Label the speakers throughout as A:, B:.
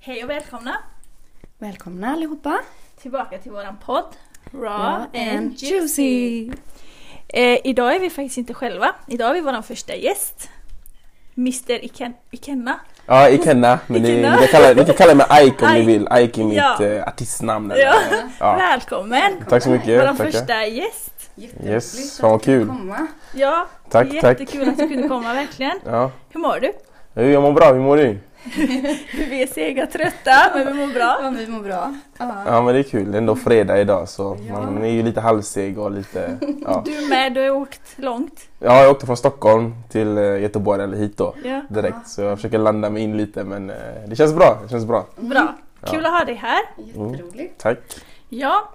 A: Hej och välkomna
B: Välkomna allihopa!
A: tillbaka till våran podd Raw
B: Raw
A: and Juicy. Eh, idag är vi faktiskt inte själva. Idag är vi våran första gäst. Mr Iken- Ikenna.
C: Ja, Ikenna. Men ni,
A: Ikenna.
C: ni, kan kalla, ni kan kalla mig Ike om
A: Ike.
C: ni vill. Ike är mitt
A: Ja.
C: eh, artistnamn. eller-
A: Ja.
C: Ja.
A: Välkommen!
C: Tack så mycket.
A: Våran
C: tackar.
A: första gäst.
B: Jätteroligt
C: Yes,
B: att
C: fan vad
B: du fick
C: kul.
B: komma.
A: Ja,
C: Tack, tack.
A: jättekul att du kunde komma verkligen.
C: Ja.
A: Hur mår du?
C: Jo, Jag mår bra, hur mår du?
A: Vi är sega trötta men vi mår bra.
B: Ja, vi mår bra. Ja.
C: Ja men det är kul, det är ändå fredag idag så
B: Ja.
C: man är ju lite halvseg och lite... Ja,
A: Du med, du har åkt långt.
C: ja jag åkte från Stockholm till eh, Göteborg eller hit då
A: Ja.
C: direkt så jag försöker landa mig in lite men eh, det känns bra, det känns bra.
A: Bra, kul att ha dig här.
B: Jätteroligt.
C: Tack.
A: Ja.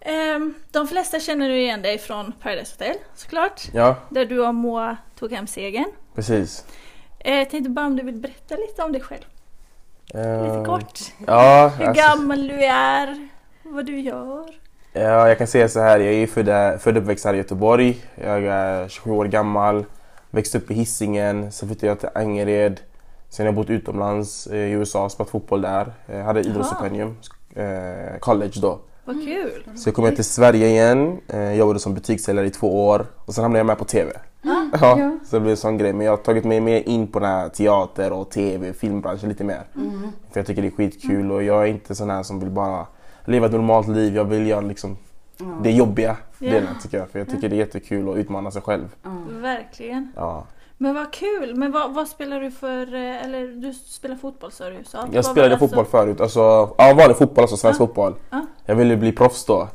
A: Ehm, de flesta känner ju igen dig från Paradise Hotel såklart.
C: Ja,
A: Där du och Moa tog hem segern.
C: precis.
A: Eh, Jag tänkte bara om du vill berätta lite om dig själv. Lite
C: Eh,
A: kort.
C: Ja,
A: Hur
C: alltså-
A: gammal du är. Vad du gör.
C: Ja, jag kan säga så här. Jag är född, född och uppväxt här i Göteborg. Jag är 27 år gammal. Växte upp i Hisingen. Sen flyttade jag till Angered. Sen har jag bott utomlands eh, i USA, spelat fotboll där. Jag hade idrottsstipendium, eh, college då.
A: Vad kul.
C: Så jag kom jag till Sverige igen. Eh, jobbade som butikssäljare i två år. Och sen hamnade jag med på TV.
B: Mm.
C: Ja,
B: ja.
C: Så det blev en sån grej. Men jag har tagit mig mer in på den här teater och TV, filmbranschen lite mer.
B: Mm.
C: För jag tycker det är skitkul och jag är inte sån här som vill bara leva ett normalt liv. Jag vill göra liksom
B: Ja.
C: det jobbiga
A: Ja.
C: delen tycker jag. För jag tycker det är jättekul att utmana sig själv.
B: Ja.
A: Verkligen.
C: Ja.
A: Men vad kul. Men vad, vad spelar du för... eh, Eller du spelar fotboll sa du? Så. Vad var
C: Jag spelade
A: det som-
C: fotboll förut, alltså, ja vanlig fotboll, alltså svensk
A: Ja.
C: fotboll.
A: Ja.
C: Jag ville bli proffs då.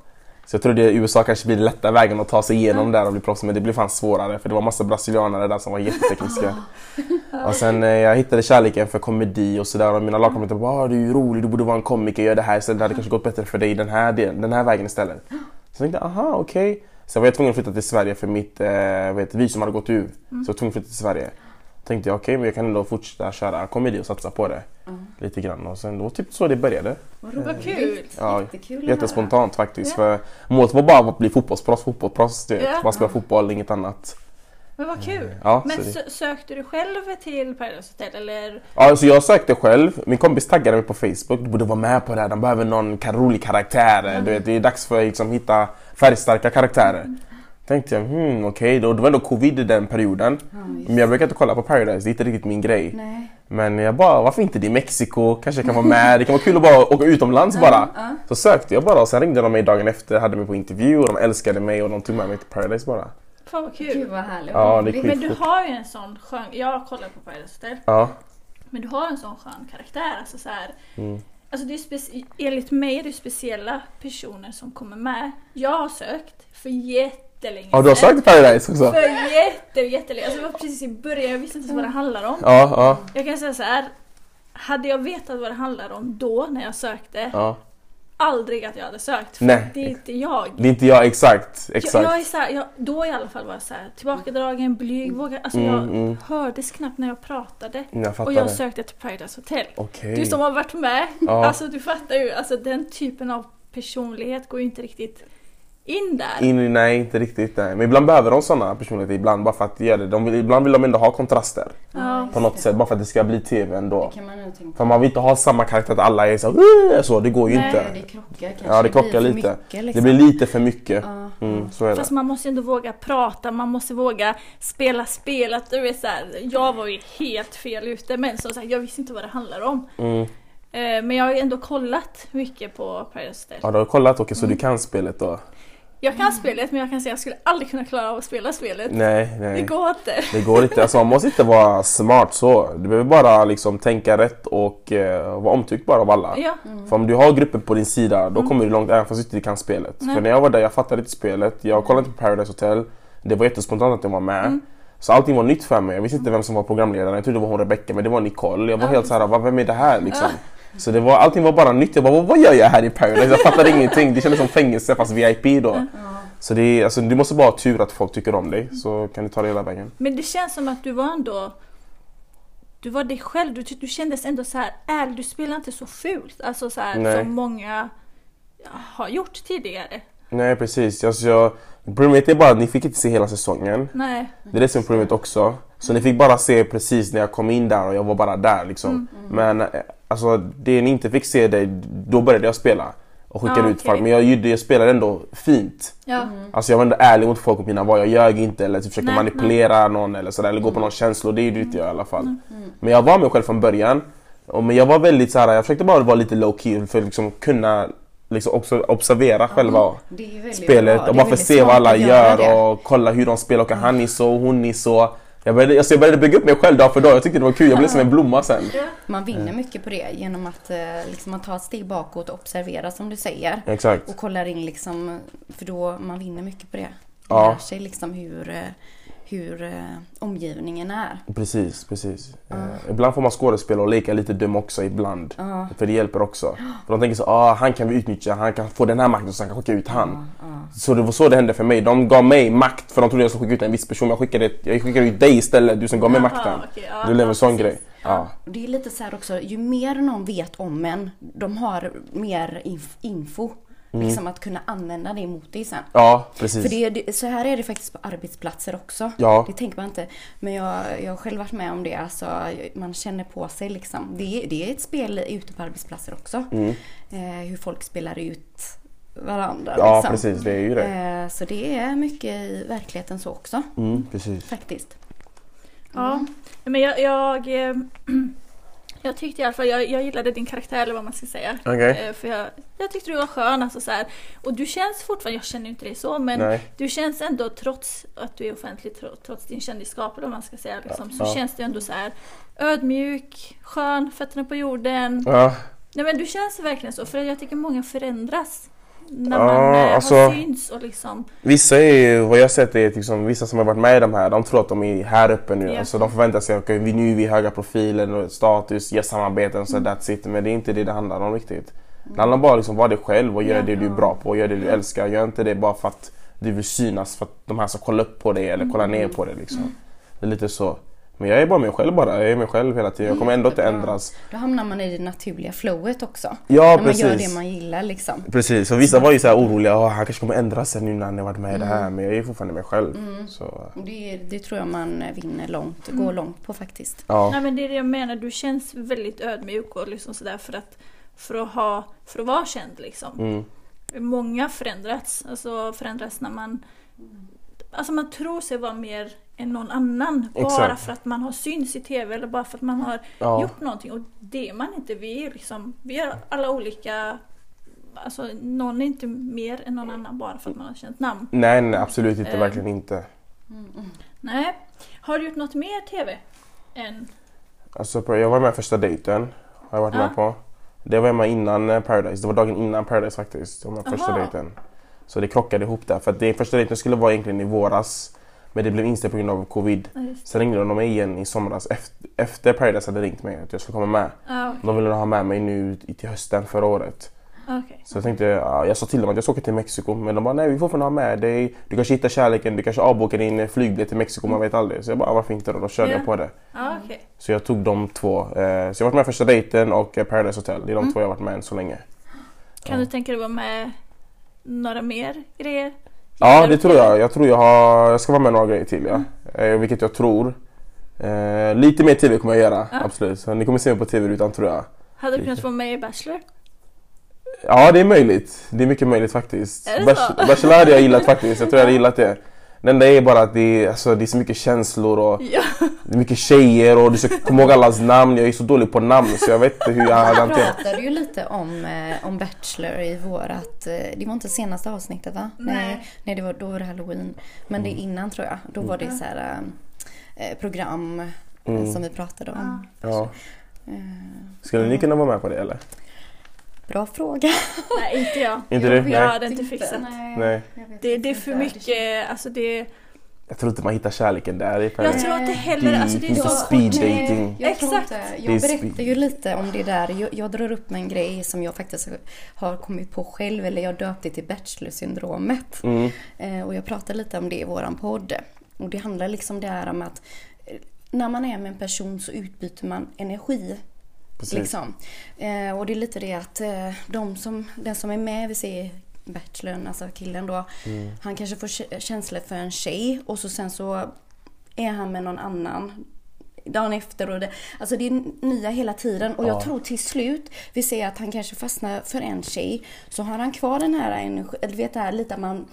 C: Så jag trodde USA kanske blir den lätta vägen att ta sig igenom där och bli proffs men det blev fan svårare för det var massa brasilianare där som var jättetekniska. och sen eh, jag hittade kärleken för komedi och sådär och mina lagkamrater bara ah, du är ju rolig, du borde vara en komiker, gör det här istället, det hade kanske gått bättre för dig den här, delen, den här vägen istället. Så jag tänkte aha okej. Sen var jag tvungen att flytta till Sverige för mitt eh, vad heter, visum hade gått ur.
A: Mm.
C: Så jag var tvungen att flytta till Sverige. Tänkte jag okej men jag kan ändå fortsätta köra komedi och satsa på det. Lite grann och sen då typ så det började.
B: Vad
A: Vad
B: roligt.
A: kul.
C: Eh, Ja,
B: Jättekul att
C: Jättespontant faktiskt.
A: Ja.
C: För målet var bara att bli fotbollsproffs, fotbollsproffs. Du vet.
A: Ja.
C: Bara spela fotboll, inget annat.
A: Men vad kul.
C: Ja, Mm. så
A: Men
C: det...
A: sö- sökte du själv till Paradise Hotel eller?
C: ja, så jag sökte själv. Min kompis taggade mig på Facebook. Du borde vara med på det här. De behöver någon ka- rolig karaktär. Du vet, det är dags för att liksom, hitta färgstarka karaktärer. Tänkte jag, hmm, okej. då Det var ändå covid i den perioden.
B: höra. Ja, just.
C: Men jag brukar inte kolla på Paradise, det är inte riktigt min grej.
B: Nej.
C: Men jag bara, varför inte det är Mexiko? Kanske jag kan vara med. Det kan vara kul att bara åka utomlands bara.
B: ja.
C: Så sökte jag bara och sen ringde de mig dagen efter, hade mig på intervju och de älskade mig och de tog med mig till Paradise bara.
A: Fan vad
B: Gud
A: kul.
B: vad härligt.
C: Ja, det är
B: Roligt.
A: Men du har ju en sån skön... Jag har kollat på Paradise Hotel.
C: Ja,
A: Men du har en sån skön karaktär. Alltså så här,
C: Mm.
A: alltså det är speci- enligt mig är det speciella personer som kommer med. Jag har sökt för jättelänge
C: ja du har
A: sedan.
C: sökt Paradise också? Ja,
A: För jätte, jättelänge. Alltså det var precis i början, jag visste inte ens vad det handlar om.
C: ja,
A: Jag kan säga så här. Hade jag vetat vad det handlar om då när jag sökte,
C: ja.
A: aldrig att jag hade sökt. För
C: Nej.
A: det är inte jag.
C: Det är inte jag, exakt.
A: Jag, jag är
C: Exakt.
A: så här, jag, då i alla fall var jag så här, tillbakadragen, blyg, vågade. Alltså
C: Mm,
A: jag
C: mm.
A: hördes knappt när jag pratade.
C: Jag
A: Och
C: fattar
A: jag
C: det.
A: sökte till Paradise Hotel. Du
C: Okej.
A: som har varit med,
C: Ja.
A: alltså du fattar ju, alltså den typen av personlighet går ju inte riktigt in där.
C: In, nej, inte riktigt. Nej. Men ibland behöver de sådana personligheter, ibland bara för att göra det. De vill, ibland vill de ändå ha kontraster
A: Ja.
C: på något sätt, bara för att det ska bli TV ändå.
B: Det kan man nog tänka
C: För man vill inte ha samma karaktär att alla är så, "Åh!" så det går ju
A: Nej,
C: inte.
B: Ja, Det krockar kanske.
C: Ja, det krockar
B: blir för
C: lite.
B: Mycket, liksom.
C: Det blir lite för mycket.
B: Ja.
C: Mm, så är det.
A: Fast man måste ju ändå våga prata, man måste våga spela spelet. Du vet så här, jag var ju helt fel ute men som sagt jag visste inte vad det handlar om.
C: Mm.
A: Eh, Men jag har ju ändå kollat mycket på Paradise Hotel.
C: Ja, du har kollat okej, så
A: Mm.
C: du kan spelet då?
A: Jag kan spelet men jag kan säga att jag skulle aldrig kunna klara av att spela spelet.
C: Nej,
A: Det
C: nej.
A: går inte.
C: Det går inte. Alltså, man måste inte vara smart så. Du behöver bara liksom, tänka rätt och eh, vara omtyckt bara av alla.
A: Ja, Mm.
C: För om du har gruppen på din sida, då kommer du långt även fast du inte kan spelet.
A: Nej.
C: För när jag var där, jag fattade inte spelet. Jag kollade inte på Paradise Hotel. Det var jättespontant att jag var med.
A: Mm.
C: Så allting var nytt för mig. Jag visste inte vem som var programledaren. Jag trodde det var hon Rebecca, men det var Nicole. Jag var
A: Ja,
C: helt såhär, "Va, vem är det här liksom? Så det var, allting var bara nytt. Jag bara, "Vad- vad gör jag här i Paradise? Jag fattade ingenting. Det kändes som fängelse fast VIP då. Så det är, alltså, du måste bara ha tur att folk tycker om dig så kan du ta det hela vägen.
A: Men det känns som att du var ändå Du var dig själv, du, du kändes ändå så här ärlig, du spelade inte så fult. Alltså så här,
C: Nej.
A: som många har gjort tidigare.
C: Nej precis. Alltså, jag, problemet är bara att ni fick inte se hela säsongen.
A: Nej.
C: Det är det som är problemet också. Så ni fick bara se precis när jag kom in där och jag var bara där liksom.
A: Mm.
C: Men eh, alltså det ni inte fick se det, då började jag spela. Och skickade
A: Ah,
C: ut
A: okej.
C: folk. Men jag, gjorde- jag spelade ändå fint.
A: Ja.
C: Alltså jag var ändå ärlig mot folk om mina val. Jag ljög inte eller typ försökte
A: Nej, Mm.
C: manipulera någon eller sådär. Eller gå på någon känsla. Det gjorde inte jag i alla fall. Men jag var mig själv från början. Och, men jag var väldigt såhär, jag försökte bara vara lite low key för att liksom kunna liksom obs- observera själva
A: Mm.
B: Det är ju väldigt
C: spelet
B: bra.
C: och
B: Det är
C: bara för att
B: väldigt
C: se
B: smart
C: vad alla
B: att göra
C: gör
B: det.
C: och kolla hur de spelar och han är så och hon är så. Jag började, alltså jag började bygga upp mig själv dag för dag. Jag tyckte det var kul. Jag blev som en blomma sen.
B: Man
C: Eh.
B: vinner mycket på det genom att eh, liksom, man tar ett steg bakåt och observerar som du säger.
C: Exakt.
B: Och kollar in liksom, för då man vinner mycket på det. Man
C: Ja.
B: lär sig liksom hur, eh, hur eh, omgivningen är.
C: Precis, precis.
B: Ah.
C: Eh, ibland får man skådespela och leka lite dum också ibland.
B: Ja.
C: För det hjälper också. För de tänker så ah, han kan vi utnyttja, han kan få den här makten så han kan skicka ut han. Så det var så det hände för mig. De gav mig makt för de trodde jag skulle skicka ut en viss person. Jag skickade, jag skickade ut dig istället, du som gav mig
A: Jaha,
C: makten.
A: okej, ja,
C: det blev
A: ja,
C: en sån
A: precis.
C: grej. Ja.
B: Och det är lite så här också, ju mer någon vet om en, de har mer inf- info. Liksom att kunna använda det mot dig sen.
C: ja, Mm. precis.
B: För det, det, så här är det faktiskt på arbetsplatser också.
C: Ja.
B: Det tänker man inte. Men jag, jag har själv varit med om det. Alltså, man känner på sig liksom. Det, är- det är ett spel ute på arbetsplatser också.
C: Mm.
B: Eh, hur folk spelar ut varandra.
C: Ja,
B: liksom.
C: precis, det är ju det.
B: Eh, så det är mycket i verkligheten så också.
C: Mm, precis.
B: Faktiskt.
A: Ja, men jag, jag, eh, jag tyckte i alla fall, jag, jag gillade din karaktär eller vad man ska säga.
C: Okej.
A: Eh, För jag, jag tyckte du var skön alltså så här. Och du känns fortfarande, jag känner ju inte dig så men
C: Nej.
A: du känns ändå trots att du är offentlig, tro- trots din kändisskap eller vad man ska säga liksom, så
C: Ja.
A: känns du ändå så här ödmjuk, skön, fötterna på jorden.
C: Ja.
A: Nej men du känns verkligen så för jag tycker många förändras. När
C: Ja,
A: man eh, har
C: alltså-
A: synts och liksom.
C: Vissa är ju, vad jag har sett är liksom, vissa som har varit med i de här, de tror att de är här uppe nu.
A: Ja.
C: Alltså de förväntar sig, okej vi nu är vi höga profiler, och status, ger samarbeten, så that's it. Men det är inte det det handlar om riktigt. Det handlar bara om liksom, var dig själv och gör
A: Ja.
C: det du är bra på, och gör det du älskar. Gör inte det bara för att du vill synas, för att de här ska kolla upp på dig eller kolla ner på dig. Liksom. Det är lite så. Men jag är bara mig själv bara, jag är mig själv hela tiden. Jag kommer ändå inte
B: Jättebra.
C: ändras.
B: Då hamnar man i det naturliga flowet också.
C: Ja,
B: När man gör
C: precis.
B: det man gillar liksom.
C: Precis, och vissa var ju så här oroliga, "Åh, han kanske kommer ändra sig nu när han har varit med i det
A: Mm.
C: här. Men jag är fortfarande mig själv. Så,
B: Och Det, det tror jag man vinner långt, går långt på faktiskt.
C: ja.
A: Nej men det är det jag menar, du känns väldigt ödmjuk och liksom sådär för att, för att, ha, för att vara känd liksom.
C: Mm.
A: Många förändras, alltså förändras när man Alltså man tror sig vara mer än någon annan bara
C: Exakt.
A: för att man har syns i TV eller bara för att man har
C: Ja.
A: gjort någonting och det är man inte. Vi är liksom, vi är alla olika Alltså någon är inte mer än någon annan bara för att man har känt namn.
C: Nej, nej, absolut inte.
A: Eh.
C: Verkligen inte.
B: Mm,
A: Nej. Har du gjort något mer TV? Än...
C: Alltså, på- jag var med första dejten. Har jag varit
A: Ja.
C: med på. Det var jag med innan eh, Paradise. Det var dagen innan Paradise faktiskt. Jag var med på första
A: Aha.
C: dejten. Så det krockade ihop där. För att det första dejten skulle vara egentligen i våras. Men det blev inställt på grund av covid.
A: Ja, just-
C: Sen ringde de mig igen i somras efter, efter Paradise hade ringt mig att jag skulle komma med.
A: Ja,
C: De ville ha med mig nu i- till hösten förra året.
A: okej.
C: Så jag tänkte, ja, jag sa till dem att jag ska åka till Mexiko men de bara nej vi får fortfarande ha med dig. Du kanske hittar kärleken, du kanske avbokar din eh, flygbiljett till Mexiko, man vet aldrig. Så jag bara varför inte då? Då körde
A: Ja.
C: jag på det.
A: Ja, okej.
C: Så jag tog de två. Eh, Så jag har varit med första dejten och eh, Paradise Hotel. Det är de två jag har varit med än så länge.
A: Mm. Kan du tänka dig vara med några mer grejer?
C: Ja
A: Gillar
C: det
A: du
C: tror
A: TV?
C: jag. Jag tror jag har... Jag ska vara med några grejer till ja.
A: Mm.
C: Eh, Vilket jag tror. Eh, Lite mer TV kommer jag göra,
A: Ja.
C: absolut. Så ni kommer se mig på TV-rutan tror jag.
A: Hade du kunnat vara med i Bachelor?
C: Ja, det är möjligt. Det är mycket möjligt faktiskt.
A: Är det
C: Bach-
A: så?
C: Bachelor hade jag gillat faktiskt. Jag tror jag hade gillat det. Det enda är bara att det är, alltså, det är så mycket känslor och
A: Ja.
C: det är mycket tjejer och du ska komma ihåg allas namn. Jag är så dålig på namn så jag vet inte hur jag hade
B: Vi
C: hanterat
B: pratade ju lite om, eh, om Bachelor i vårat, eh, det var inte senaste avsnittet va?
A: Nej.
B: nej det var, då var det halloween. Men
C: Mm.
B: det är innan tror jag. Då var det så här eh, program eh,
C: Mm.
B: som vi pratade om.
C: ja.
B: Eh,
C: Skulle ni kunna vara med på det eller?
B: bra fråga.
A: Nej, inte jag.
C: Inte du?
A: Jag
C: Nej.
A: hade inte fixat.
C: Nej.
A: Det, det är för mycket, alltså det...
C: Jag tror inte man hittar kärleken där i
A: Jag
C: Paradise.
A: tror inte
C: Det
A: heller,
C: är
A: alltså det är
C: inte
A: så
C: speed
A: kort.
B: Nej,
C: dating.
B: Jag tror
A: Exakt.
B: inte.
C: Det är
B: Jag
C: speed.
B: berättar ju lite om det där. Jag, jag drar upp en grej som jag faktiskt har kommit på själv. Eller jag döpte till Bachelor-syndromet.
C: Mm.
B: Eh, Och jag pratar lite om det i våran podd. Och det handlar liksom det här om att eh, när man är med en person så utbyter man energi.
C: Precis.
B: Liksom. Eh, och det är lite det att eh, de som, den som är med, vi säger
C: Mm.
B: Bachelorn, alltså killen då. Han kanske får kä- känslor för en tjej och så sen så är han med någon annan dagen efter och det, alltså det är nya hela tiden och jag
C: Ja.
B: tror till slut, vi ser att han kanske fastnar för en tjej, så har han kvar den här energin, du vet det här lite att man,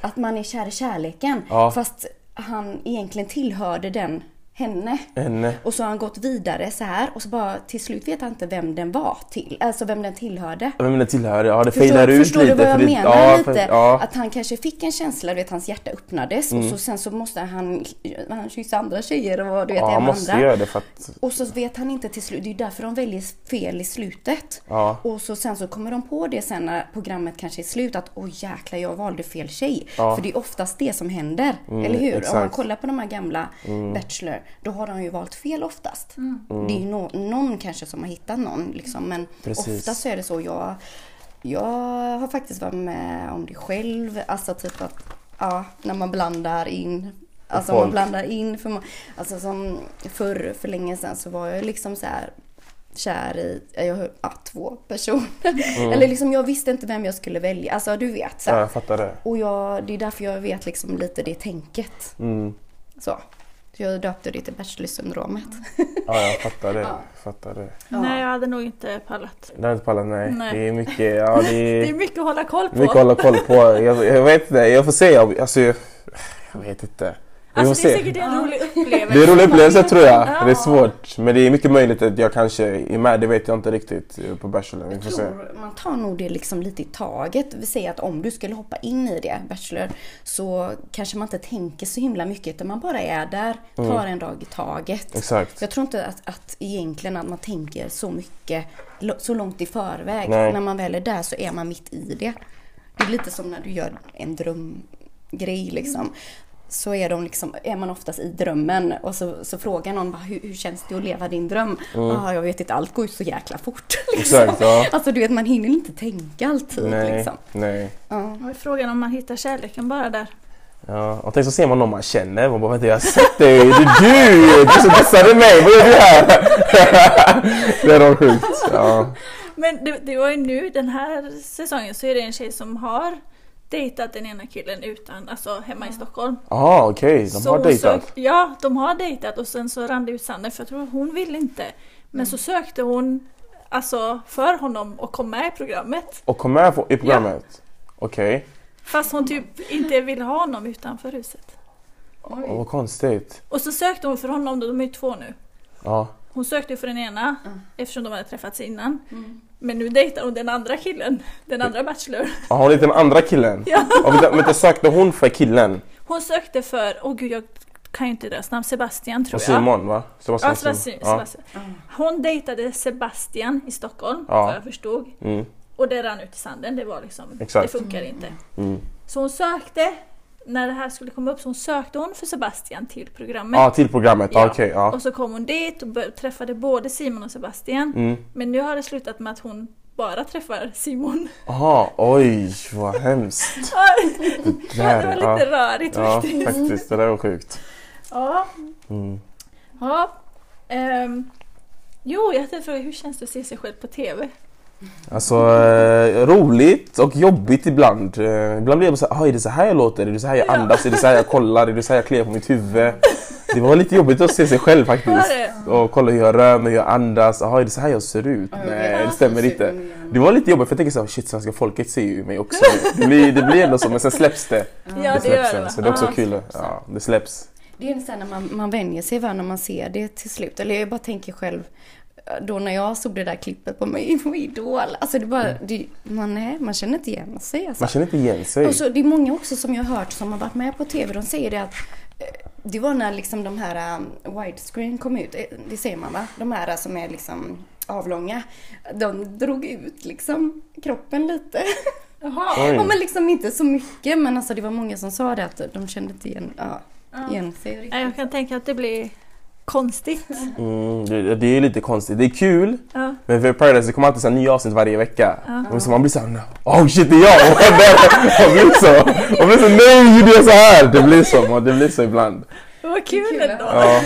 B: att man är kär i kärleken
C: Ja.
B: fast han egentligen tillhörde den henne.
C: Henne.
B: Och så har han gått vidare så här och så bara till slut vet han inte vem den var till, alltså vem den tillhörde.
C: Vem det tillhör, ja det
B: Förstår,
C: fejdar ut
B: förstår
C: lite.
B: du vad jag
C: för det-
B: menar
C: ja,
B: lite?
C: för- ja. Mm.
B: Att han kanske fick en känsla, du vet hans hjärta öppnades och så sen så måste han, han kyssa andra tjejer och du vet
C: ja,
B: det
C: han
B: ena med
C: måste
B: andra.
C: göra det för att...
B: Och så vet han inte till slut, det är ju därför de väljer fel i slutet.
C: Ja.
B: Och så sen så kommer de på det sen när programmet kanske är slut att åh jäklar jag valde fel tjej.
C: Ja. Mm,
B: För det är oftast det som händer, eller hur? Om man
C: exakt. Mm.
B: kollar på de här gamla Bachelor, då har de ju valt fel oftast. Det är ju nå- någon kanske som har hittat någon liksom, men
C: Precis.
B: oftast så är det så. Jag, jag har faktiskt varit med om det själv, alltså typ att ja, när man blandar in Alltså om man
C: folk.
B: blandar in för man, Alltså som förr, för länge sedan så var jag liksom så här kär i jag, ja, två personer. Eller liksom jag visste inte vem jag skulle välja. Alltså du vet. Så
C: Mm. Ja,
B: här.
C: jag fattar det.
B: Och jag, det är därför jag vet liksom lite det tänket.
C: Mm.
B: Så. Så Jag döpte det till Bachelor-syndromet.
C: Ja, jag fattar det. Fattar det.
A: Nej, jag hade nog inte pallat.
C: Det har inte pallat, nej.
A: Nej.
C: Det är mycket, ja det
A: Det är
C: är
A: mycket att hålla koll på.
C: mycket att hålla koll på. Jag, jag vet inte, jag får se. Jag, alltså, jag jag vet inte. Vi får
A: Alltså det är
C: se.
A: säkert en rolig upplevelse.
C: Det är en rolig upplevelse tror jag.
A: Ja.
C: Det är svårt. Men det är mycket möjligt att jag kanske är med. Det vet jag inte riktigt eh, på Bachelor. Vi får se.
B: tror, man tar nog det liksom lite i taget. Vi säger att om du skulle hoppa in i det, Bachelor, så kanske man inte tänker så himla mycket utan man bara är där,
C: Mm.
B: tar en dag i taget.
C: Exakt.
B: Jag tror inte att, att egentligen att man tänker så mycket, lo- så långt i förväg.
C: Nej.
B: När man väl är där så är man mitt i det. Det är lite som när du gör en drömgrej liksom. Så är, de liksom, är man oftast i drömmen och så, så frågar någon bara, hur, hur känns det att leva din dröm? Ah, jag vet inte, allt går ju så jäkla fort. Liksom.
C: Mm. Exakt, ja.
B: Alltså du vet, man hinner inte tänka
A: typ,
B: alltid.
C: Nej,
B: Liksom.
C: nej.
B: Ja.
A: Och Frågan om man hittar kärleken bara där.
C: Ja, och tänk så ser man någon man känner. Man bara vänta jag har sett dig. Det är du! Du som dissade mig. Vad gör du här? Det är nog sjukt. Ja.
A: Men det, det var ju nu den här säsongen så är det en tjej som har dejtat den ena killen utan, alltså hemma i Stockholm.
C: Ah, okej. De
A: Så
C: har
A: hon
C: dejtat.
A: sök- ja, de har dejtat och sen så rann det ut sanden för jag tror hon ville inte.
C: Mm.
A: Men så sökte hon alltså för honom och kom med i programmet.
C: Och kom med på- i programmet? Okej.
A: Fast hon typ inte ville ha honom utanför huset.
C: Åh, vad konstigt.
A: Och så sökte hon för honom, då, de är ju två nu.
C: Ja.
A: Hon sökte ju för den ena
C: Mm.
A: eftersom de hade träffats innan. Men nu dejtar hon den andra killen, den andra bachelor.
C: Ah, hon är den andra killen?
A: Ja.
C: Och vänta, vänta, sökte hon för killen?
A: Hon sökte för, åh gud jag kan ju inte deras namn, Sebastian tror
C: Och
A: jag.
C: Simon va?
A: Ja,
C: Sebastian
A: Sebastian.
C: Ja.
A: Sebastian. Hon dejtade Sebastian i Stockholm,
C: Ja.
A: vad jag förstod.
C: Mm.
A: Och det rann ut i sanden, det var liksom,
C: Exakt.
A: det funkar inte.
C: Mm.
A: Så hon sökte, när det här skulle komma upp, så hon sökte hon för Sebastian till programmet.
C: Ah, till programmet, ja.
A: Ja.
C: okej. ja.
A: Och så kom hon dit och bör- träffade både Simon och Sebastian.
C: Mm.
A: Men nu har det slutat med att hon bara träffar Simon.
C: Aha, oj vad hemskt.
A: det var
C: ja.
A: lite rörigt
C: Ja,
A: faktiskt.
C: faktiskt. Det där var sjukt.
A: Ja.
C: Mm.
A: ja. Ehm, jo, jag tänkte fråga, hur känns det att se sig själv på TV?
C: Alltså, eh, roligt och jobbigt ibland. Eh, ibland blir jag bara såhär, "Ah, är det så här jag låter? Är det så här jag
A: Ja.
C: andas? Är det så här jag kollar? Är det så här jag kliar på mitt huvud? Det var lite jobbigt att se sig själv
A: Var
C: faktiskt.
A: det?
C: Och kolla hur jag rör mig, hur jag andas. Jaha, är det så här jag ser ut? Nej, det stämmer inte. Det var lite jobbigt för jag tänker såhär, shit svenska folket ser ju mig också. Det blir, det blir ändå så, men sen släpps det.
A: Ja,
C: Det
A: det gör det
C: släpps sen,
A: va?
C: så det är också
A: Ja.
C: kul. Ja, det släpps.
B: Det är sen när man, man vänjer sig vid när man ser det till slut. Eller jag bara tänker själv då när jag såg det där klippet på mig på Idol. Alltså det bara, det, man, nej, man känner inte igen sig. Alltså.
C: Mm. Man känner inte igen sig.
B: Och så, det är många också som jag har hört som har varit med på TV. De säger det att eh, det var när liksom de här um, widescreen kom ut. Eh, Det säger man va? De här eh, som är liksom avlånga. De drog ut liksom kroppen lite.
A: Jaha.
C: Oj.
B: Ja, men liksom inte så mycket. Men alltså det var många som sa det att de kände inte igen, ja, igen sig riktigt.
A: Nej, Jag kan tänka att det blir konstigt.
C: Mm, det, det är lite konstigt. Det är kul,
A: Ja.
C: men för Paradise det kommer alltid så här nya avsnitt varje vecka.
A: Ja.
C: Och så man blir såhär, oh shit det är jag! Och där- Man blir så, man blir så nej gjorde jag så här? Det blir så, man- det blir så ibland.
A: Vad
B: Det är
A: kul ändå.
C: Ja.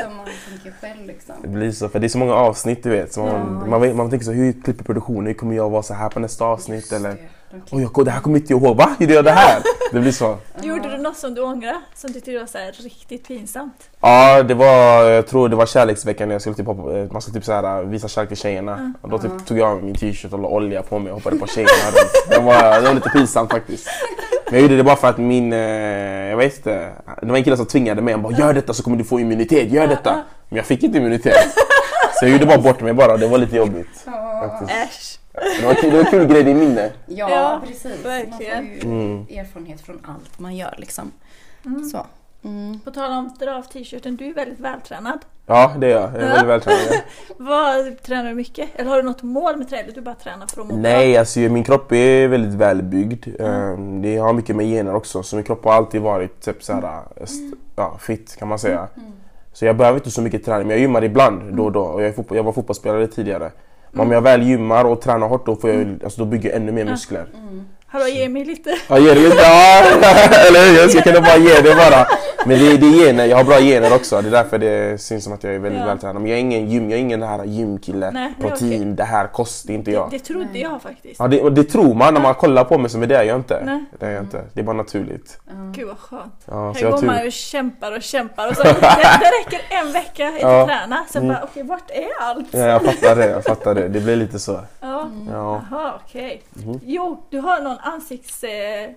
B: Som man tänker själv liksom.
C: Det blir så, för det är så många avsnitt du vet. Så man, man, vet- man tänker så, hur klipper produktionen? Hur kommer jag vara så här på nästa avsnitt? Eller,
B: Just det. Okej.
C: Och jag, det här kommer inte jag ihåg, va? Gjorde jag det här? Det blir så.
A: Gjorde du något som du ångrar? Som du tyckte var så här riktigt pinsamt?
C: Ja, det var, jag tror det var kärleksveckan när jag skulle typ hoppa, eh, man skulle typ så här, visa kärlek till tjejerna. Och då typ tog jag av min t-shirt och la olja på mig och hoppade på tjejerna. runt. det, var, det var lite pinsamt faktiskt. Men jag gjorde det bara för att min, eh, jag vet inte, det var en kille som tvingade mig. Han bara gör detta så kommer du få immunitet, gör detta. Men jag fick inte immunitet. Så jag gjorde bara bort mig bara och det var lite jobbigt. Faktiskt.
A: Äsch!
C: Det var, kul- det var en kul grej i minne.
B: Ja,
A: Äh, Ja,
B: precis.
A: verkligen.
B: Man får ju
C: Mm.
B: erfarenhet från allt man gör liksom. Så. Mm.
A: På tal om att dra av t-shirten, du är väldigt vältränad.
C: Ja, det är jag. Jag är väldigt vältränad.
A: Vad Tränar du mycket? Eller har du något mål med träning? Du bara tränar för att må
C: Nej, alltså ju- min kropp är väldigt välbyggd. Mm. Det har mycket med gener också, så min kropp har alltid varit typ så här, st- ja, fit kan man säga. Så jag behöver inte så mycket träning, men jag gymmar ibland då och då. Och jag, är fotbo- jag var fotbollsspelare tidigare. Men om jag väl gymmar och tränar hårt då, får jag, alltså, då bygger jag ännu mer muskler.
A: Mm.
B: Mm,
A: bra? Hallå, ge mig lite.
C: Ja, ger det lite. Ja, eller hur? Jag ska kunna bara ge det bara. Men det, det är gener, jag har bra gener också. Det är därför det syns som att jag är väldigt
A: Ja.
C: vältränad. Men jag är ingen gym, jag är ingen den här gymkille.
A: Nej, det är
C: protein,
A: okej.
C: det här kost, det är inte jag.
A: Det, det trodde jag faktiskt.
C: Ja, det, och det tror man när man kollar på mig, så men det är jag inte.
A: Nej.
C: Det är jag inte. Det är bara naturligt.
A: Gud vad skönt.
C: Ja, så
A: Här
C: Alltså, jag
A: går
C: tur.
A: man och kämpar och kämpar och så. Det, det räcker en vecka inte
C: Ja.
A: träna. Sen
C: Mm.
A: bara okej, vart är allt?
C: Ja, jag fattar det, jag fattar det. Det blir lite så.
A: Ja.
C: Ja. Mm.
A: Jaha, okej. Jo, du har någon ansiktsgympa, eh,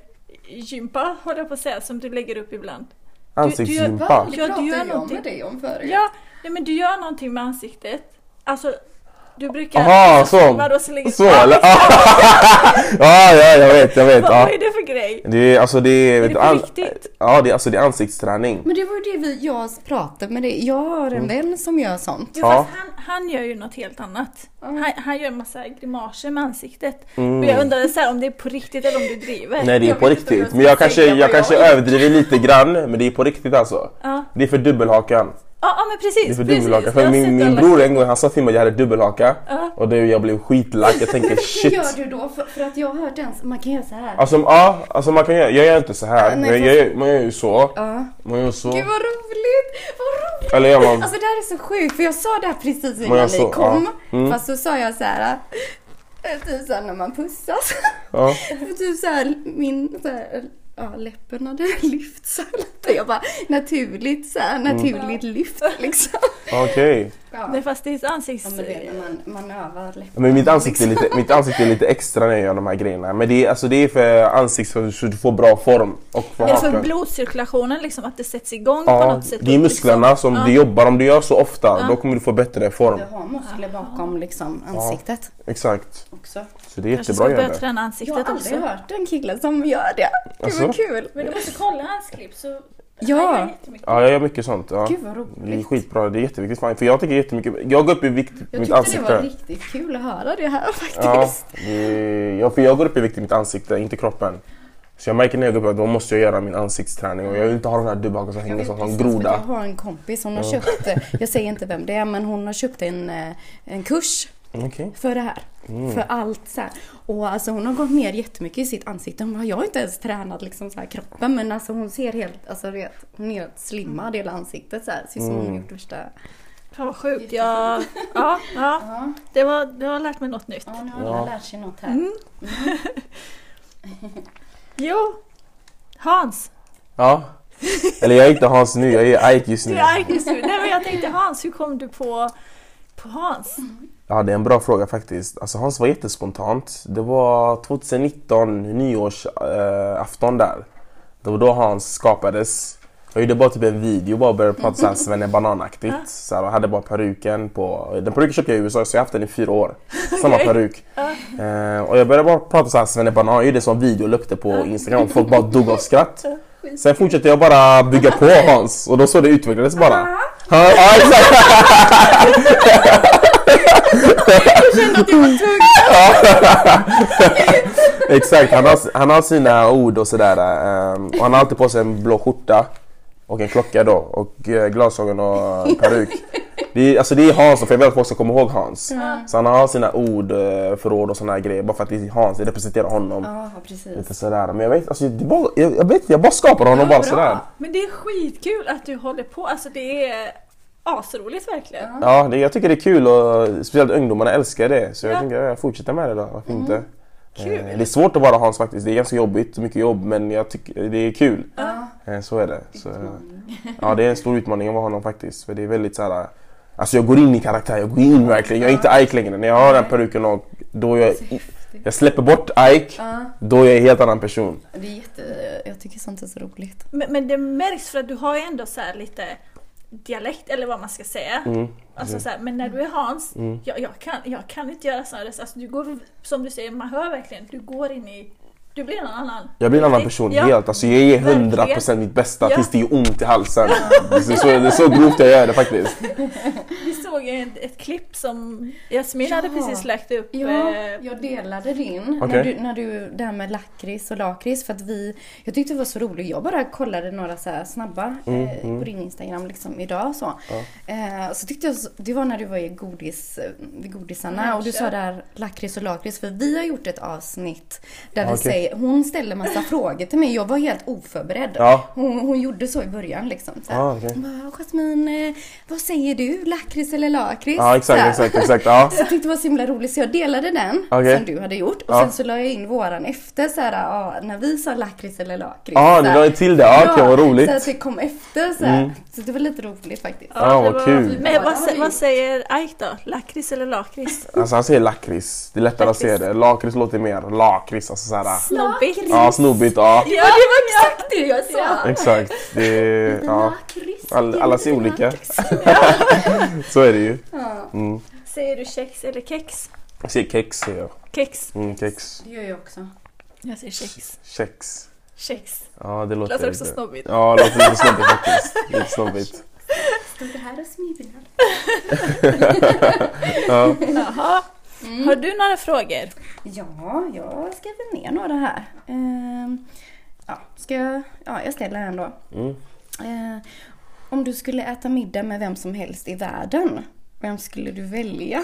A: gympa, håller jag på att säga, som du lägger upp ibland.
B: Va?
C: Ansiktsgympa.
B: Det
A: Ja, du
B: pratade
A: gör
B: jag
A: någonting.
B: med dig om förut.
A: Ja, nej, men du gör någonting med ansiktet. Alltså, du brukar...
C: Aha, så.
A: Vadå, så lägger...
C: Så
A: Ja,
C: eller? Ja, ja, jag vet, jag vet.
A: Vad,
C: Ja.
A: vad är det för grej?
C: Det är alltså det är...
A: Är det på
C: an-
A: riktigt?
C: Ja, det är, alltså, det är ansiktsträning.
B: Men det var ju det vi, jag pratade med dig. Jag har
C: Mm.
B: en vän som gör sånt.
A: Jo,
C: Ja.
A: fast han, han gör ju något helt annat.
B: Mm.
A: Han, han gör en massa grimaser med ansiktet.
C: Mm.
A: Och jag undrade så här, om det är på riktigt eller om du driver.
C: Nej, det är
B: Jag
C: på
B: vet inte om jag
C: riktigt.
B: ska
C: Men jag kanske,
B: säga vad
C: jag
B: jag
C: kanske
B: är.
C: överdriver lite grann, men det är på riktigt alltså.
A: Ja,
C: Det är för dubbelhakan.
A: ja, ja men
C: Det är
A: precis.
C: för
A: precis.
C: dubbelhaka.
A: Jag
C: För
A: har
C: min,
A: sett
C: min
A: alla-
C: bror en gång han sa till mig att jag hade dubbelhaka.
A: Ja.
C: Och det, jag blev skitlack. Jag tänker
B: Hur
C: shit.
B: gör du då? För, för att jag har hört en, man kan göra så här.
C: Alltså, ja, alltså man kan göra, jag gör inte så här.
B: Ja, nej,
C: jag, jag, man gör ju så.
B: Ja.
C: Man gör så.
B: Gud vad roligt! Vad roligt!
C: Eller gör man...
B: Alltså det här är så sjukt för jag sa det här precis
C: jag
B: innan
C: så-
B: ni kom.
C: ja. Mm.
B: Fast så sa jag så här. eh, Typ såhär när man pussas.
C: Ja.
B: typ såhär min så här, ja, läppen hade lyft så här lite. Jag bara naturligt såhär
C: Mm.
B: naturligt lyft liksom.
C: Okej.
B: Ja.
A: Nej, fast det är ett ansikts...
B: men du vet när man, man övar läppen.
C: Men mitt ansikte, är lite, mitt ansikte är lite extra när jag gör de här grejerna. Men det är, alltså, det är för ansiktet så- så du får bra form. Och får
A: Är det för
C: hakan.
A: blodcirkulationen liksom, att det sätts igång på
C: Ja,
A: något sätt?
C: det är musklerna
B: liksom.
C: som
A: Ja.
C: du jobbar. Om du gör så ofta,
A: Ja.
C: då kommer du få bättre form.
B: Du har muskler bakom liksom ansiktet
C: Exakt.
B: också.
C: Så det är
A: liksom- Kanske ska
C: jättebra att
A: börja
C: göra det.
A: träna
B: Jag har
A: ansiktet
B: aldrig
A: också.
B: hört en kille som gör det. Gud
C: Alltså?
B: vad kul!
A: Men du måste kolla hans klipp så...
B: Ja.
A: Han gör jättemycket.
C: Ja, jag gör mycket sånt. Ja.
B: Gud vad
C: Det är
B: roligt.
C: skitbra. Det är jätteviktigt. För jag tycker jättemycket... Jag går upp i vikt i
B: Jag
C: mitt
B: tyckte det var
C: ansikte.
B: riktigt kul att höra det här faktiskt.
C: Ja, det, ja, för jag går upp i vikt i mitt ansikte, inte kroppen. Så jag märker när jag går upp att då måste jag göra min ansiktsträning och jag vill inte ha den här dubbhaken som
B: Jag
C: hänger
B: vet
C: som
B: precis,
C: en
B: för Jag
C: groda.
B: har en kompis, hon har köpt, eh, jag säger inte vem det är, men hon har köpt en, eh, en kurs
C: Okej.
B: för det här.
C: Mm.
B: För allt så här. Och alltså hon har gått ner jättemycket i sitt ansikte. Hon bara, jag har inte ens tränat liksom så här kroppen men alltså hon ser helt, alltså du vet, hon är helt slimmad i hela ansiktet så här. Ser ut som
C: Mm.
B: hon har gjort värsta...
A: Fan vad sjukt. Jag... Ja, ja.
B: Ja,
A: Det, var, det har lärt mig något nytt.
B: ja nu har
C: Ja.
B: alla lärt sig något här.
A: Jo. Hans.
C: Ja. Eller jag är inte Hans nu, jag är Ike just
A: Du
C: nu.
A: är arg just nu. Nej men jag tänkte Hans, hur kom du på, på Hans?
C: Ja, det är en bra fråga faktiskt. Alltså Hans var jättespontant. Det var 2019, nyårsafton där. Det var då Hans skapades. Jag gjorde bara typ en video bara och började prata såhär Svenne Banan-aktigt. Så här, och hade bara peruken på... Den peruken köpte jag i USA så jag har haft den i fyra år. Samma peruk. Eh, och jag började bara prata såhär Svenne Banan. Jag gjorde en sån video och la upp det på Instagram och folk bara dog av skratt. Sen fortsatte jag bara bygga på Hans och då så det utvecklades
A: Ah.
C: bara. Ja, ja, exakt. Exakt, han har, han har sina ord och sådär. ehm, och han har alltid på sig en blå skjorta och en klocka då och eh, glasögon och eh, peruk. Det är, alltså det är Hans, för jag vill att folk ska komma ihåg Hans. Så han har sina ord, eh, förråd och såna här grejer bara för att det är Hans, det representerar honom.
B: Ja, precis.
C: Lite sådär. Men jag vet, alltså, det var, jag, jag, vet, jag bara skapar honom bara sådär.
A: Men det är skitkul att du håller på. Alltså det är asroligt verkligen.
C: Ja, det, jag tycker det är kul och speciellt ungdomarna älskar det. Så jag
A: Ja. Mm.
C: tänker jag fortsätter med det då, varför inte?
A: Kul.
C: Eh, Det är svårt att vara Hans faktiskt. Det är ganska jobbigt, mycket jobb, men jag tycker det är kul.
B: Ja.
C: Eh, Så är det. Så, ja, det är en stor utmaning att vara honom faktiskt. För det är väldigt så här, Alltså jag går in i karaktär, jag går in verkligen. Jag är inte Ike längre. När jag har den peruken och då jag, jag släpper bort Ike,
B: Ja,
C: då är jag en helt annan person.
B: det är jätte... Jag tycker sånt är så roligt.
A: Men, men det märks för att du har ju ändå så här lite dialekt eller vad man ska säga.
C: Mm.
A: Alltså så här, men när du är Hans, jag, jag, kan, jag kan inte göra sådana röster. Alltså, du går, som du säger, man hör verkligen, du går in i... Du blir en annan.
C: Jag blir en annan person
A: Ja.
C: helt. Alltså jag ger 100%
A: Verkligen.
C: mitt bästa
A: Ja.
C: tills det gör ont i halsen. Det är, så, det är så grovt jag gör det faktiskt.
A: Vi såg ju ett, ett klipp som Jasmin
B: Ja.
A: hade precis lagt upp.
B: Ja,
A: eh,
B: jag delade din.
C: Okej.
B: När, du, när du, det här med lakrits och lakrits. För att vi, jag tyckte det var så roligt. Jag bara kollade några så här snabba
C: Mm,
B: eh, på din Instagram liksom idag. Så, eh, så tyckte jag, så- det var när du var i godis, eh, vid godisarna
A: Mm,
B: och du
A: kör.
B: sa där lakrits och lakrits. För vi har gjort ett avsnitt där vi
C: Okej.
B: säger, hon ställer massa frågor till mig. Jag var helt oförberedd.
C: Ja.
B: Hon, hon gjorde så i början liksom. Så här.
C: Ah, okej.
B: Hon bara, Jasmin, eh, vad säger du? Lakrits eller lakrits?
C: Ja
B: Så
C: exakt,
B: här.
C: exakt, exakt. Ja.
B: Så jag tyckte det var så himla roligt så jag delade den
C: Okej.
B: som du hade gjort och
C: Ja.
B: sen så la jag in våran efter så här, ja, när vi sa lakrits eller lakrits.
C: Ja,
B: så
C: Ah, ni
B: här.
C: la ju till det. Ja, okej, vad roligt. Mm.
B: Så att det kom efter så här. Så det var lite roligt faktiskt.
C: Ja,
A: det
C: vad
A: var-
C: kul.
A: Men vad,
B: Ja,
A: sä-
B: det-
A: vad säger Ike då? Lakrits eller lakrits?
C: Alltså han säger lakrits. Det är lättare att säga det. Lakrits låter mer lakrits. Alltså såhär.
A: Snobbigt.
B: Lakrits.
C: Ja, snobbigt. Ja,
A: Ja,
B: Ja, det var exakt det jag sa!
C: exakt. Det är, ja.
B: Lakrits.
C: All, alla ser olika. Så är det ju. Mm.
A: Säger du kex eller kex?
C: Jag säger kex säger jag.
A: Kex.
C: Mm, kex.
B: Det gör jag också.
A: Jag säger kex.
C: Kex.
A: Kex.
C: Ja, det låter,
A: Låter också
C: lite-
A: snobbigt.
C: Ja, det låter lite snobbigt faktiskt. Lite snobbigt.
B: Står det här och smilar?
C: Ja.
A: Jaha. Mm. Har du några frågor?
C: Mm.
B: Ja, jag skriver ner några här. Ehm, ja, ska jag, ja, jag ställer en då.
C: Mm.
B: Eh, om du skulle äta middag med vem som helst i världen, vem skulle du välja?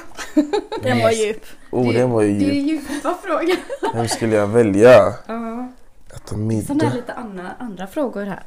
A: Den var djup.
C: Oh, den var ju
B: Det är
C: djup.
B: djupa frågor.
C: Vem skulle jag välja?
B: Ja.
C: Äta
B: Sådana här
C: middag?
B: lite andra, andra frågor här.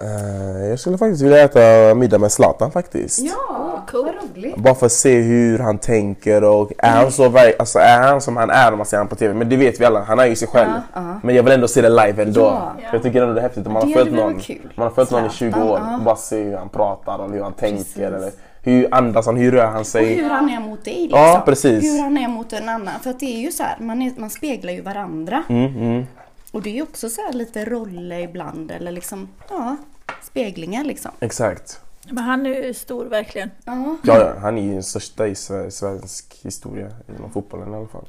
C: Eh, jag skulle faktiskt vilja äta middag med Zlatan faktiskt.
B: Ja,
A: cool.
B: vad roligt.
C: Bara för att se hur han tänker och är han, så ver- alltså, är han som han är om man ser honom på TV? Men det vet vi alla, han är ju sig själv.
B: Ja, ja.
C: Men jag vill ändå se det live ändå.
B: Ja.
C: För jag tycker ändå det är häftigt om man
B: Det
C: har följt
B: hade varit
C: någon,
B: kul.
C: man har följt någon i 20
B: Zlatan,
C: år
B: ja.
C: och bara se hur han pratar och hur han
B: Precis.
C: tänker. Eller hur andas han, hur rör han
B: Och
C: sig?
B: hur han är mot dig liksom.
C: Ja, precis.
B: Hur han är mot en annan. För att det är ju så här, man, är, man speglar ju varandra.
C: Mm, mm.
B: Och det är ju också så här lite roller ibland eller liksom, ja, speglingar liksom.
C: Exakt.
A: Men han är ju stor verkligen.
B: Ja.
C: Ja, ja, han är ju den största i sve- svensk historia, inom fotbollen i alla fall.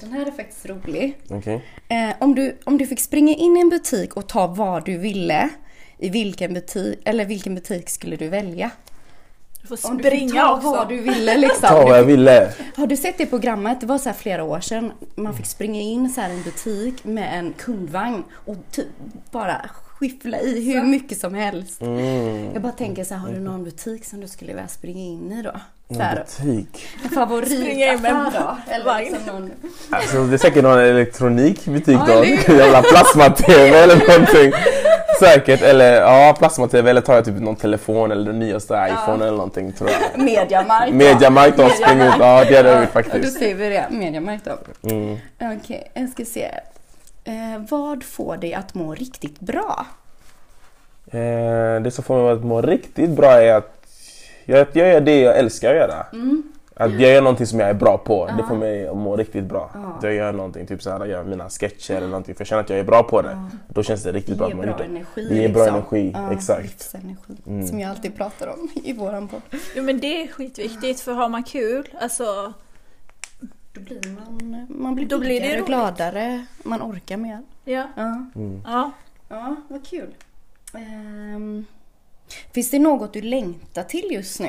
B: Den här är faktiskt rolig.
C: Okej?
B: Eh, om, du, om du fick springa in i en butik och ta vad du ville, i vilken butik, eller vilken butik skulle du välja?
A: Du får
B: Om du
A: springa
B: fick ta
A: också.
B: vad du ville liksom.
C: Ta vad jag
B: Du fick-
C: ville.
B: Har du sett det programmet? Det var så här flera år sedan. Man fick springa in så här i en butik med en kundvagn och typ bara skyffla i hur mycket som helst. Jag bara tänker så här, har du någon butik som du skulle vilja springa in i då? Så här,
C: Mm. Butik.
B: en favorit
A: Springa in med en
B: då? Eller
A: vagn.
B: liksom någon...
C: Alltså det är säkert någon elektronikbutik
B: Ja,
C: då.
B: eller hur?
C: Jävla plasma-tv eller någonting. Säkert. Eller ja, plasma-tv. Eller tar jag typ någon telefon eller den nyaste iPhone eller någonting tror jag.
B: Mediamarkt.
C: Mediamarkt då, spring ut. Ja, det hade jag gjort
B: Då
C: faktiskt.
B: säger vi det, Mediamarkt då.
C: Mm.
B: Okej, jag ska se. Eh, vad får dig att må riktigt bra?
C: Eh, det som får mig att må riktigt bra är att jag, att jag gör det jag älskar att göra.
A: Mm.
C: Att jag gör någonting som jag är bra på, det får mig att må riktigt bra. Att jag gör någonting, typ såhär, jag gör mina sketcher eller någonting för jag känner att jag är bra på det. Då känns det riktigt
B: Det
C: bra
B: ger
C: att man
B: bra
C: gjort det.
B: energi.
C: Det ger bra
B: liksom.
C: energi,
B: Ja,
C: exakt. Mm.
B: Livsenergi, som jag alltid pratar om i våran podd.
A: Jo men det är skitviktigt för har man kul, alltså
B: Då blir man, man blir
A: Då blir det
B: piggare och
A: roligt.
B: gladare, man orkar mer.
A: ja.
B: Ja,
C: Mm.
A: ja.
B: ja vad kul. Ehm, finns det något du längtar till just nu?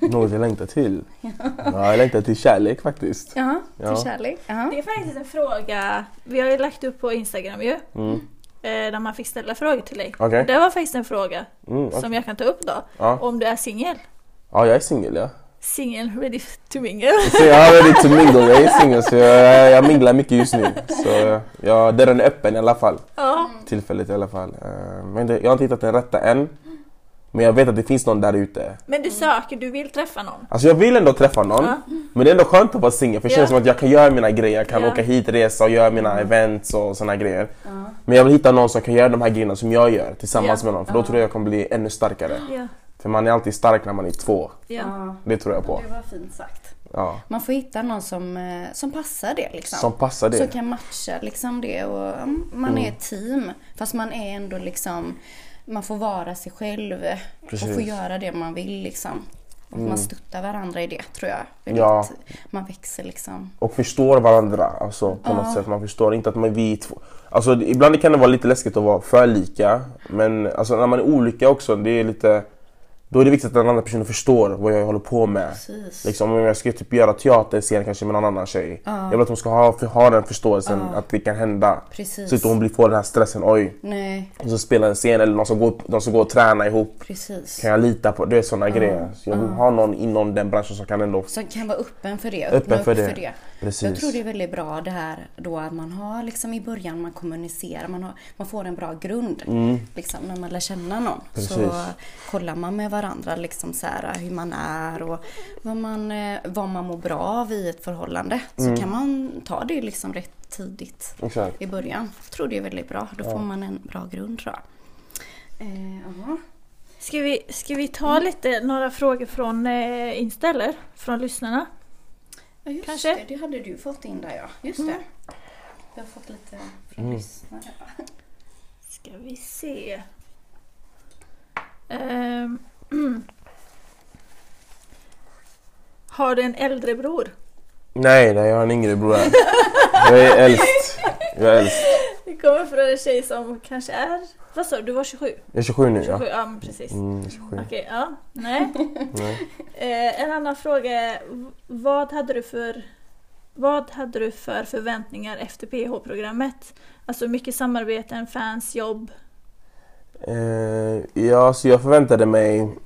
C: Något jag längtar till? Ja, jag längtar till kärlek faktiskt.
B: Ja, till
C: Ja.
B: kärlek. Ja.
A: Det är faktiskt en fråga, vi har ju lagt upp på Instagram ju,
C: Mm.
A: eh, där man fick ställa frågor till dig.
C: Okej.
A: Det var faktiskt en fråga
C: Mm, ja.
A: som jag kan ta upp då.
C: ja.
A: Om du är singel?
C: ja, jag är singel ja.
A: Singel ready to mingle?
C: Så jag är ready to mingle, jag är singel så jag, jag minglar mycket just nu. Så ja, dörren är öppen i alla fall.
A: Ja.
C: Tillfälligt i alla fall. Eh, Men det, jag har inte hittat den rätta än. Men jag vet att det finns någon där ute.
A: Men du söker, du vill träffa någon?
C: Alltså jag vill ändå träffa någon.
A: Mm. Ja.
C: Men det är ändå skönt att vara singel för det
A: Ja.
C: känns som att jag kan göra mina grejer. Jag kan
A: Ja. Mm.
C: åka hit, resa och göra mina events och såna här grejer.
B: Ja.
C: Men jag vill hitta någon som kan göra de här grejerna som jag gör tillsammans
A: Ja.
C: med någon för då tror jag jag kommer bli ännu starkare.
A: Ja,
C: För man är alltid stark när man är två.
A: ja.
C: Det tror jag på.
B: Det var fint sagt.
C: Ja.
B: Man får hitta någon som, eh, som passar det liksom.
C: Som passar
B: Som
C: det.
B: kan matcha liksom det och mm, man är ett team. Fast man är ändå liksom, man får vara sig själv och
C: Precis. Mm.
B: får göra det man vill liksom. Och Man stöttar varandra i det tror jag. Väldigt-
C: Ja.
B: Man växer liksom.
C: Och förstår varandra alltså, på något sätt. Man förstår inte att man vi är två. Alltså, det- ibland kan det vara lite läskigt att vara för lika. Men alltså, när man är olika också, det är lite... Då är det viktigt att den andra personen förstår vad jag håller på med.
B: Precis.
C: Liksom, om jag ska typ göra teater sen kanske med någon annan tjej. Jag vill att hon ska ha, ha den förståelsen att det kan hända.
B: Precis.
C: Så att hon blir får den här stressen. Oj,
B: Nej,
C: och så spelar en scen eller någon som går, de som går och tränar ihop.
B: precis.
C: Kan jag lita på? Det är sådana grejer. Så jag vill ha någon inom den branschen som kan ändå...
B: Som kan vara öppen för det.
C: Öppen
B: öppna
C: för
B: upp
C: det.
B: för det.
C: Precis.
B: Jag tror det är väldigt bra det här då att man har liksom i början, man kommunicerar, man, har, man får en bra grund.
C: Mm,
B: Liksom, när man lär känna någon
C: Precis.
B: så kollar man med varandra liksom så här, hur man är och vad man, eh, vad man mår bra av i ett förhållande. Så kan man ta det liksom rätt tidigt
C: Exakt.
B: i början. Jag tror det är väldigt bra. Då får man en bra grund tror jag. Eh, ja.
A: Ska vi, ska vi ta lite några frågor från eh, inställer, från lyssnarna?
B: Ja, just
A: Kanske.
B: det. Det hade du fått in där ja. Just det. Jag har fått lite från lyssnare.
A: Ska vi se. Ehm, Har du en äldre bror?
C: Nej, nej, jag har en yngre bror här. Jag är äldst. Jag är äldst.
A: Det kommer från en tjej som kanske är... Vad sa du? Du var 27?
C: Jag är 27 nu
A: 27, ja,
C: ja.
A: men precis.
C: Mm, jag är 27.
A: Okej, ja. Nej.
C: Nej.
A: Eh, en annan fråga är, v- vad hade du för vad hade du för förväntningar efter PH-programmet? Alltså mycket samarbeten, fans, jobb.
C: Eh, ja, så jag förväntade mig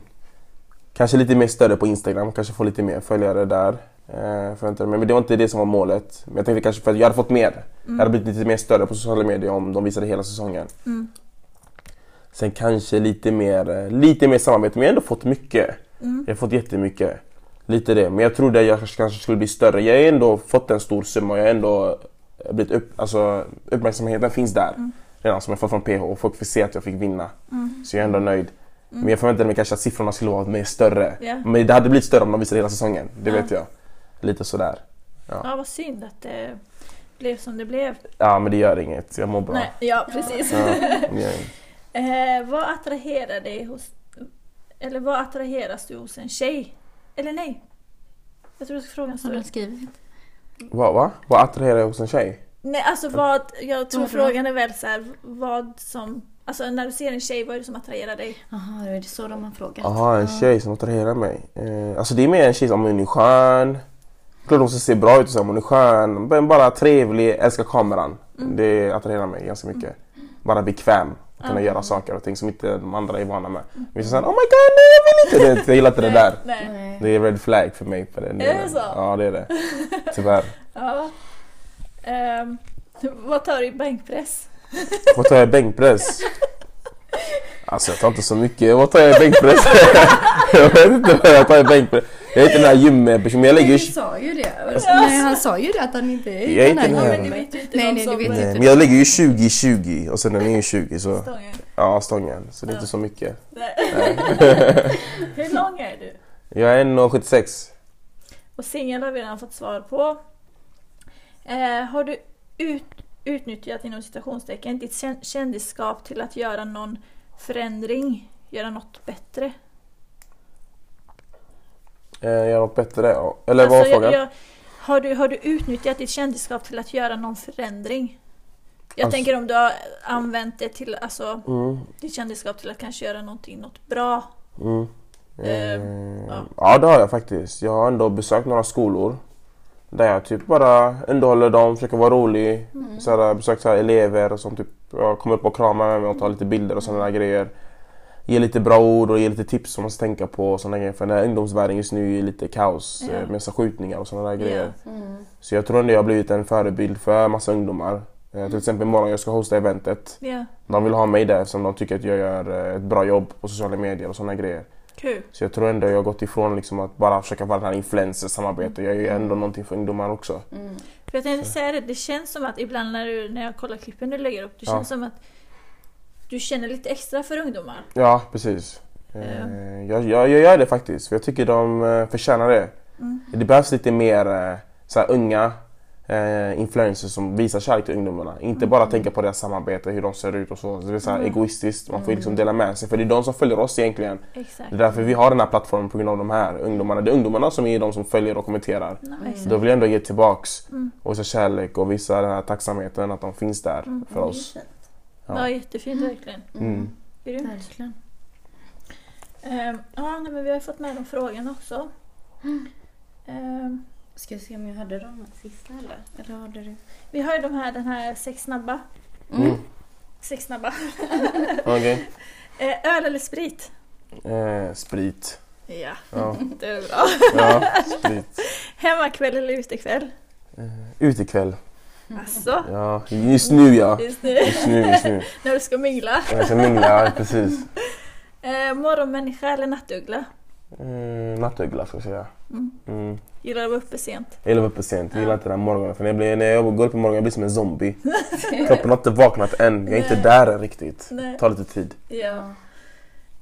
C: kanske lite mer större på Instagram, kanske få lite mer följare där. Eh, förväntade mig. Men det var inte det som var målet. Men jag tänkte kanske för att jag hade fått mer. Jag hade blivit lite mer större på sociala medier om de visade hela säsongen.
A: Mm.
C: Sen kanske lite mer, eh, lite mer samarbete, men jag har ändå fått mycket.
A: Mm.
C: Jag har fått jättemycket. Lite det, men jag trodde att jag kanske skulle bli större. Jag har ändå fått en stor summa och jag har ändå blivit upp, alltså, uppmärksamheten finns där.
A: Mm.
C: Redan som jag fått från PH och folk fick se att jag fick vinna. Så jag är ändå nöjd. Men jag förväntade mig kanske att siffrorna skulle vara mer större.
A: Mm. Ja.
C: Men det hade blivit större om de visade hela säsongen, det vet jag. Lite sådär.
A: Ja, vad synd att det blev som det blev.
C: Ja men det gör inget, jag mår bra.
A: Nej, ja, precis.
C: Ja, det gör inget.
A: Eh, vad attraherar dig hos... Eller vad attraheras du hos en tjej? Eller nej? Jag tror jag ska fråga så.
B: skrivit?
C: Vad va? Vad attraherar jag hos en tjej?
A: Nej, alltså vad... Jag tror
B: Vadå?
A: frågan är väl så här, vad som... Alltså när du ser en tjej, vad är det som attraherar dig?
B: Jaha, är det så de har frågat?
C: Jaha, en tjej som attraherar mig. Eh, alltså det är mer en tjej som om hon är skön. Klart hon ska se bra ut och så om hon är skön. Men bara trevlig, älskar kameran.
A: Mm.
C: Det attraherar mig ganska mycket. Bara bekväm. Att kunna göra saker och ting som inte de andra är vana med. Vissa säger oh my god, nej jag vill inte det. Jag gillar inte det där.
A: Mm. Nej.
B: Nej.
C: Det är red flag för mig. För den
A: det
C: delen.
A: så?
C: Ja det är det. Tyvärr.
A: Ja. Ehm, vad tar du i bänkpress?
C: Vad tar jag i bänkpress? Alltså jag tar inte så mycket. Vad tar jag i bänkpress? jag vet inte vad jag tar i bänkpress. Jag är inte den här gympersonen. Jag lägger
B: Du
C: ju
B: sa ju det. Alltså, Nej, han sa ju det att han inte är
C: Jag är inte
B: här
C: den här.
B: gymmen.
A: Det vet ju inte
B: Nej,
A: någon
B: nej, det
A: som-
B: vet
C: Nej,
B: inte.
C: men jag lägger ju 20 i 20 och sen den är ju 20 så
A: Stången.
C: ja stången så det är inte så mycket.
A: Nej. Hur lång är du?
C: Jag är 1,76.
A: Och singel har vi redan fått svar på. Eh, har du ut, utnyttjat inom citationstecken ditt kän- kändisskap till att göra någon förändring? Göra något bättre?
C: Eh, Jag har något bättre ja. eller vad var
A: Alltså, jag-
C: frågan?
A: jag- har, du, har du utnyttjat ditt kändisskap till att göra någon förändring? Jag
C: Alltså-
A: tänker om du har använt det till, alltså
C: Mm,
A: ditt kändisskap till att kanske göra någonting, något bra.
C: mm.
A: Ehm,
C: Eh,
A: ja.
C: Ja det har jag faktiskt. Jag har ändå besökt några skolor där jag typ bara underhåller dem, försöker vara rolig.
A: Mm.
C: Så här, jag har besökt så här elever och som typ ja, kommer upp och kramar med mig och tar lite bilder och sådana där grejer. Ge lite bra ord och ge lite tips som man ska tänka på och sådana grejer. För den här ungdomsvärlden just nu är lite kaos
A: Ja.
C: eh, med så här skjutningar och sådana där grejer.
A: Ja.
B: Mm,
C: Så jag tror ändå jag har blivit en förebild för massa ungdomar. Eh,
A: Mm.
C: till exempel imorgon jag ska hosta eventet.
A: Ja.
C: De vill ha mig där eftersom de tycker att jag gör eh, ett bra jobb på sociala medier och sådana grejer.
A: Kul.
C: Så jag tror ändå jag har gått ifrån liksom att bara försöka vara den här influencersamarbetet. Jag gör ju ändå någonting för ungdomar också.
B: Mm.
A: För jag tänkte säga det, det känns som att ibland när, du, när jag kollar klippen du lägger upp, det
C: Ja.
A: känns som att du känner lite extra för ungdomar.
C: Ja, precis. Eh, Jag, jag, jag gör det faktiskt, för jag tycker de eh, förtjänar det.
A: Mm.
C: Det behövs lite mer eh, så här, unga eh, influencers som visar kärlek till ungdomarna. Inte bara tänka på deras samarbete, hur de ser ut och så. Det är så här egoistiskt, man får ju liksom dela med sig. För det är de som följer oss egentligen.
A: Exakt.
C: Det är därför vi har den här plattformen på grund av de här ungdomarna. Det är ungdomarna som är de som följer och kommenterar.
A: Nej,
C: Så
A: exakt.
C: då vill jag ändå ge tillbaks
A: Mm.
C: och visa kärlek och visa den här tacksamheten att de finns där
A: Mm,
C: för oss.
A: Ja.
C: Ja.
A: jättefint verkligen.
C: Mm.
A: Grymt.
B: Verkligen.
A: Ehm, ja, nej, men vi har ju fått med de frågorna också. Ehm,
B: Ska jag se om jag hade de sista eller? Eller hade du?
A: vi har ju de här, den här sex snabba.
C: Mm.
A: Sex snabba.
C: Okej.
A: Eh, öl eller sprit?
C: Eh, sprit.
A: Ja,
C: Ja.
A: det är bra.
C: ja, sprit.
A: Hemmakväll eller utekväll?
C: Utekväll.
A: Alltså,
C: Ja, just nu ja.
A: just nu
C: Just nu, just nu.
A: när du ska mingla.
C: Jag ska mingla, ja, precis.
A: Eh, morgonmänniska eller nattuggla?
C: Mm, nattuggla ska jag säga.
A: Mm.
C: Mm.
A: Gillar att vara uppe sent.
C: Jag gillar att vara uppe sent, jag gillar inte den här morgonen. För när jag, blir, när jag går upp på morgonen jag blir som en zombie. Kroppen har inte vaknat än, jag är inte
A: Nej.
C: där än riktigt.
A: Nej.
C: tar lite tid.
A: Ja.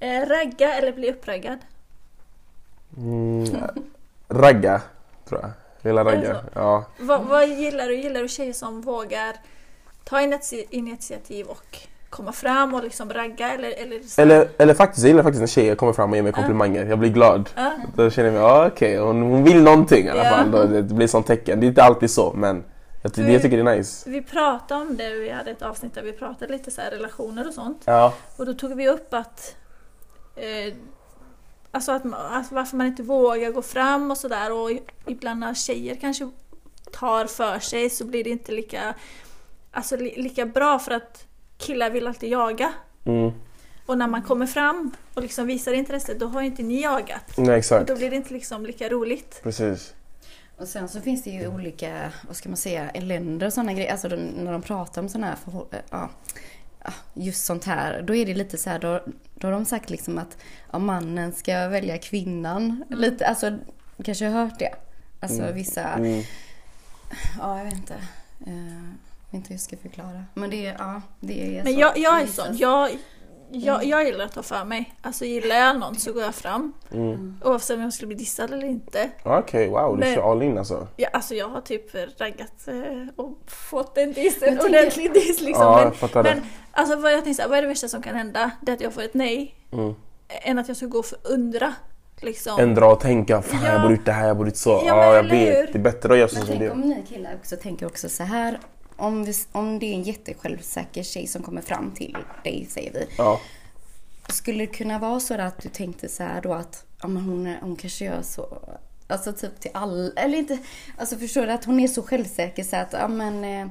A: Eh, ragga eller bli uppraggad?
C: Mm, ragga, tror jag. Jag gillar
A: Är det
C: ragga.
A: så?
C: Ja.
A: Vad, vad gillar du? Gillar du tjejer som vågar ta initi- initiativ och komma fram och liksom ragga? Eller, eller, så-
C: Eller, eller faktiskt, jag gillar faktiskt när tjejer kommer fram och ger mig komplimanger. Jag blir glad.
A: Ja,
C: Då känner jag, ah, okej, hon, hon vill någonting i alla
A: Ja.
C: fall. Då, det blir sånt tecken. Det är inte alltid så, men jag, ty-
A: Hur-
C: jag tycker det är nice.
A: vi pratade om det, vi hade ett avsnitt där vi pratade lite så här relationer och sånt.
C: Ja,
A: Och då tog vi upp att eh, Alltså att, ma- alltså varför man inte vågar gå fram och sådär och i- ibland när tjejer kanske tar för sig så blir det inte lika Alltså li, lika bra för att killar vill alltid jaga
C: mm.
A: och när man kommer fram och liksom visar intresse då har ju inte ni jagat.
C: Nej, exakt.
A: Då blir det inte liksom lika roligt.
C: Precis.
B: Och sen så finns det ju olika, vad ska man säga, länder och sådana grejer. Alltså de- när de pratar om sådana här förhå- eh, ja, ja, just sånt här. Då är det lite så här, då, då har de sagt liksom att ja, mannen ska välja kvinnan. Lite, alltså kanske har hört det. Alltså vissa,
C: Mm.
B: ja jag vet inte. Eh, jag vet inte hur jag ska förklara. Men det är, ja, det
A: Men
B: är så. Mm.
A: jag, jag är
B: Vissa-
A: sån. Jag, jag, jag gillar att ta för mig. Alltså gillar jag någon så går jag fram.
C: Mm.
A: Oavsett om jag skulle bli dissad eller inte.
C: Okej, wow, du
A: Men-
C: kör all in alltså.
A: Ja, alltså jag har typ raggat eh, och fått en diss, en
B: tänker-
A: ordentlig diss liksom.
C: ja, jag
A: men
C: fattar
A: men alltså, vad jag tänkte såhär, vad är det värsta som kan hända? Det är att jag får ett nej.
C: det. Mm.
A: Än att jag ska gå och förundra. Liksom.
C: Ändra och tänka, fan
A: Ja.
C: jag borde gjort det här, jag borde gjort så.
A: Ja,
C: Ja,
A: men
C: jag
A: eller hur?
C: vet. Det är bättre att göra så
B: Men
C: som det
B: tänk
C: är.
B: om ni killar också tänker också så här. Om, vi, om det är en jättesjälvsäker tjej som kommer fram till dig, säger vi.
C: Ja.
B: Skulle det kunna vara så att du tänkte så här då att ja, men hon, är- hon kanske gör så, alltså typ till all, eller inte, alltså förstår du att hon är så självsäker så att ja men eh,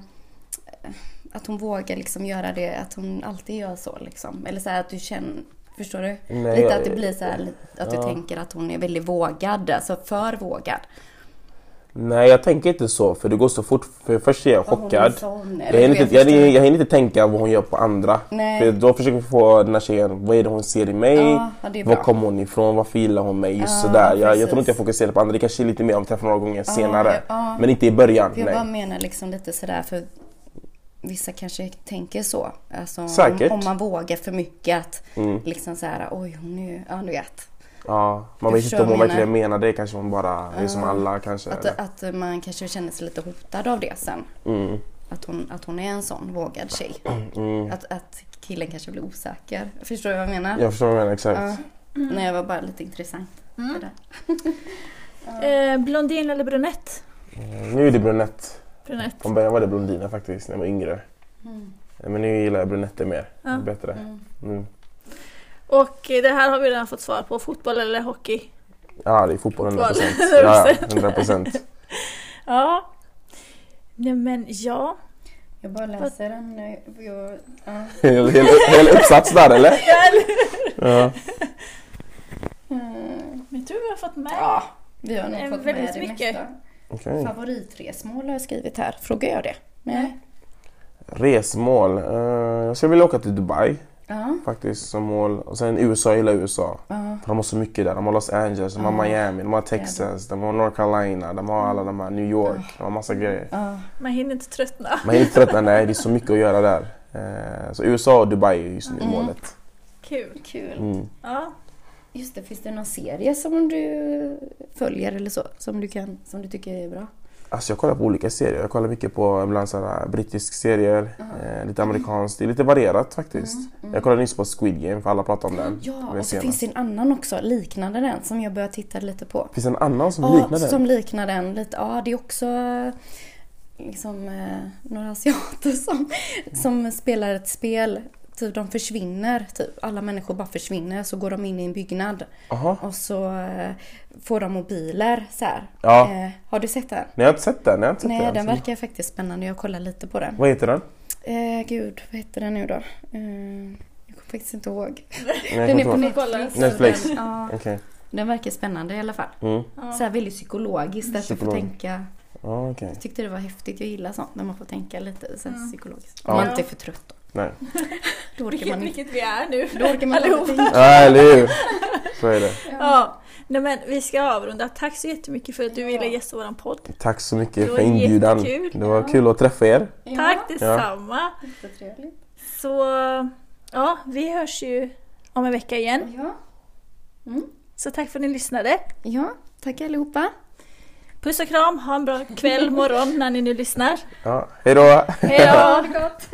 B: att hon vågar liksom göra det, att hon alltid gör så liksom. Eller så här att du känner, förstår du?
C: Nej,
B: lite
C: jag-
B: att det blir så här, lite- att du
C: ja.
B: tänker att hon är väldigt vågad, alltså för vågad.
C: Nej, jag tänker inte så, för det går så fort. För först är jag
B: Vad hon
C: chockad.
B: sa om-
C: Jag
B: eller
C: hinner,
B: hur
C: inte,
B: jag
C: jag,
B: förstår.
C: hinner, jag hinner inte tänka vad hon gör på andra.
B: Nej.
C: För då försöker vi få den här tjejen, vad är det hon ser i mig?
B: Ja, ja, det är
C: var
B: bra.
C: kommer hon ifrån? Varför gillar hon mig? Just
B: Ja,
C: sådär. Jag, jag
B: precis.
C: tror inte jag fokuserar på andra. Det kanske är lite mer om vi träffar några gånger senare.
B: ja.
C: Men inte i början.
B: För jag
C: Nej.
B: bara menar liksom lite sådär för vissa kanske tänker så. Alltså om,
C: Säkert.
B: om man vågar för mycket att liksom såhär oj hon är ju, ja du vet.
C: Mm. Ja, man
B: Du
C: vet inte
B: förstår
C: om hon
B: vad jag
C: verkligen menar det. Kanske hon bara är som alla kanske.
B: Att,
C: eller?
B: att man kanske känner sig lite hotad av det sen.
C: Mm.
B: Att hon, att hon är en sån vågad tjej.
C: Mm.
B: Att, att killen kanske blir osäker. Förstår du vad jag menar?
C: Jag förstår vad du menar exakt.
B: Ja. Nej, jag var bara lite intressant. Det där.
A: Eh, blondin eller brunett?
C: Eh, Nu är det brunett.
A: Brunett.
C: Från början var det blondiner faktiskt när jag var yngre.
B: Mm.
C: Eh, Men nu gillar jag brunetter mer.
A: Ja.
C: Bättre.
B: Mm.
C: Mm.
A: Och eh, det här har vi redan fått svar på. Fotboll eller hockey?
C: Ja, det är fotboll 100 procent.
A: Fotboll.
C: Ja, ja, 100 procent.
A: Ja. Nej men ja.
B: Jag bara läser den nu. Jag, ja.
C: Hela, hela, hela uppsats där eller? Ja.
B: Mm.
A: Men tror vi har fått med.
B: ja, vi har nog
A: Eh,
B: fått med
A: väldigt
B: det
A: mycket.
B: mesta.
C: Okej.
B: Favoritresmål har jag skrivit här. Frågar jag det? Nej.
C: Resmål. Eh, jag skulle vilja åka till Dubai.
B: Ja.
C: faktiskt som mål. Och sen USA, jag gillar USA.
B: Ja.
C: För de har så mycket där. De har Los Angeles, de har
B: Ja.
C: Miami, de har Texas, de har North Carolina, de har alla de här New York, de har massa grejer.
B: Ja.
A: Man hinner inte tröttna.
C: Man är inte trött, nej det är så mycket att göra där. Eh, Så USA och Dubai är just nu
B: Mm.
C: målet.
A: Kul.
B: Kul.
C: Mm.
A: Ja.
B: Just det, finns det någon serie som du följer eller så? Som du, kan, som du tycker är bra?
C: Alltså jag kollar på olika serier. Jag kollar mycket på ibland så här brittisk serier, eh, lite amerikanskt. Det är lite varierat faktiskt.
B: Mm,
C: Jag kollade nyss på Squid Game för alla pratar om den.
B: Ja,
C: Den
B: och så
C: senast.
B: finns det en annan också, liknande den, som jag börjar titta lite på.
C: Finns det en annan som
B: Ja,
C: liknar den?
B: som liknar den lite. Ja, det är också eh, liksom eh, några asiater som, som spelar ett spel. Typ de försvinner, typ. alla människor bara försvinner så går de in i en byggnad
C: Aha.
B: och så eh, får de mobiler så här.
C: Ja.
B: Eh, har du sett den?
C: Nej jag har inte sett den. Jag har inte sett
B: Nej,
C: den.
B: den verkar faktiskt spännande. Jag kollar lite på den.
C: Vad heter den?
B: Eh, gud, vad heter den nu då? Eh, jag kommer faktiskt inte ihåg.
C: Nej,
B: Den
C: jag kommer
B: är på
C: inte ihåg.
B: Netflix.
C: Netflix.
B: Den, ja,
C: Okej.
B: den verkar spännande i alla fall.
C: Mm.
A: Ja.
B: Så här väldigt psykologiskt, att du får
C: Psykolog.
B: tänka.
C: Ja, okej.
B: Jag tyckte det var häftigt, jag gillar sånt när man får tänka lite så här,
A: Mm.
B: psykologiskt.
C: Ja.
B: Om man inte är för trött då.
C: Nej.
B: Då orkar
A: Vilket,
B: man inte.
A: vilket vi är nu.
B: Då orkar man
A: Allihop.
B: inte tänka.
C: Ja, eller hur? Så är det.
A: Ja. Nej, men vi ska avrunda. Tack så jättemycket för att du ville gästa våran podd.
C: Tack så mycket
A: Det var
C: för inbjudan.
A: jättekul.
C: Det var kul att träffa er.
A: Tack detsamma.
B: Ja, jättetrevligt.
A: Så ja, vi hörs ju om en vecka igen.
B: Ja.
A: Så tack för att ni lyssnade.
B: ja, tack allihopa.
A: Puss och kram, ha en bra kväll, morgon när ni nu lyssnar.
C: Ja. Hej då!
A: Hej då!
B: det gott.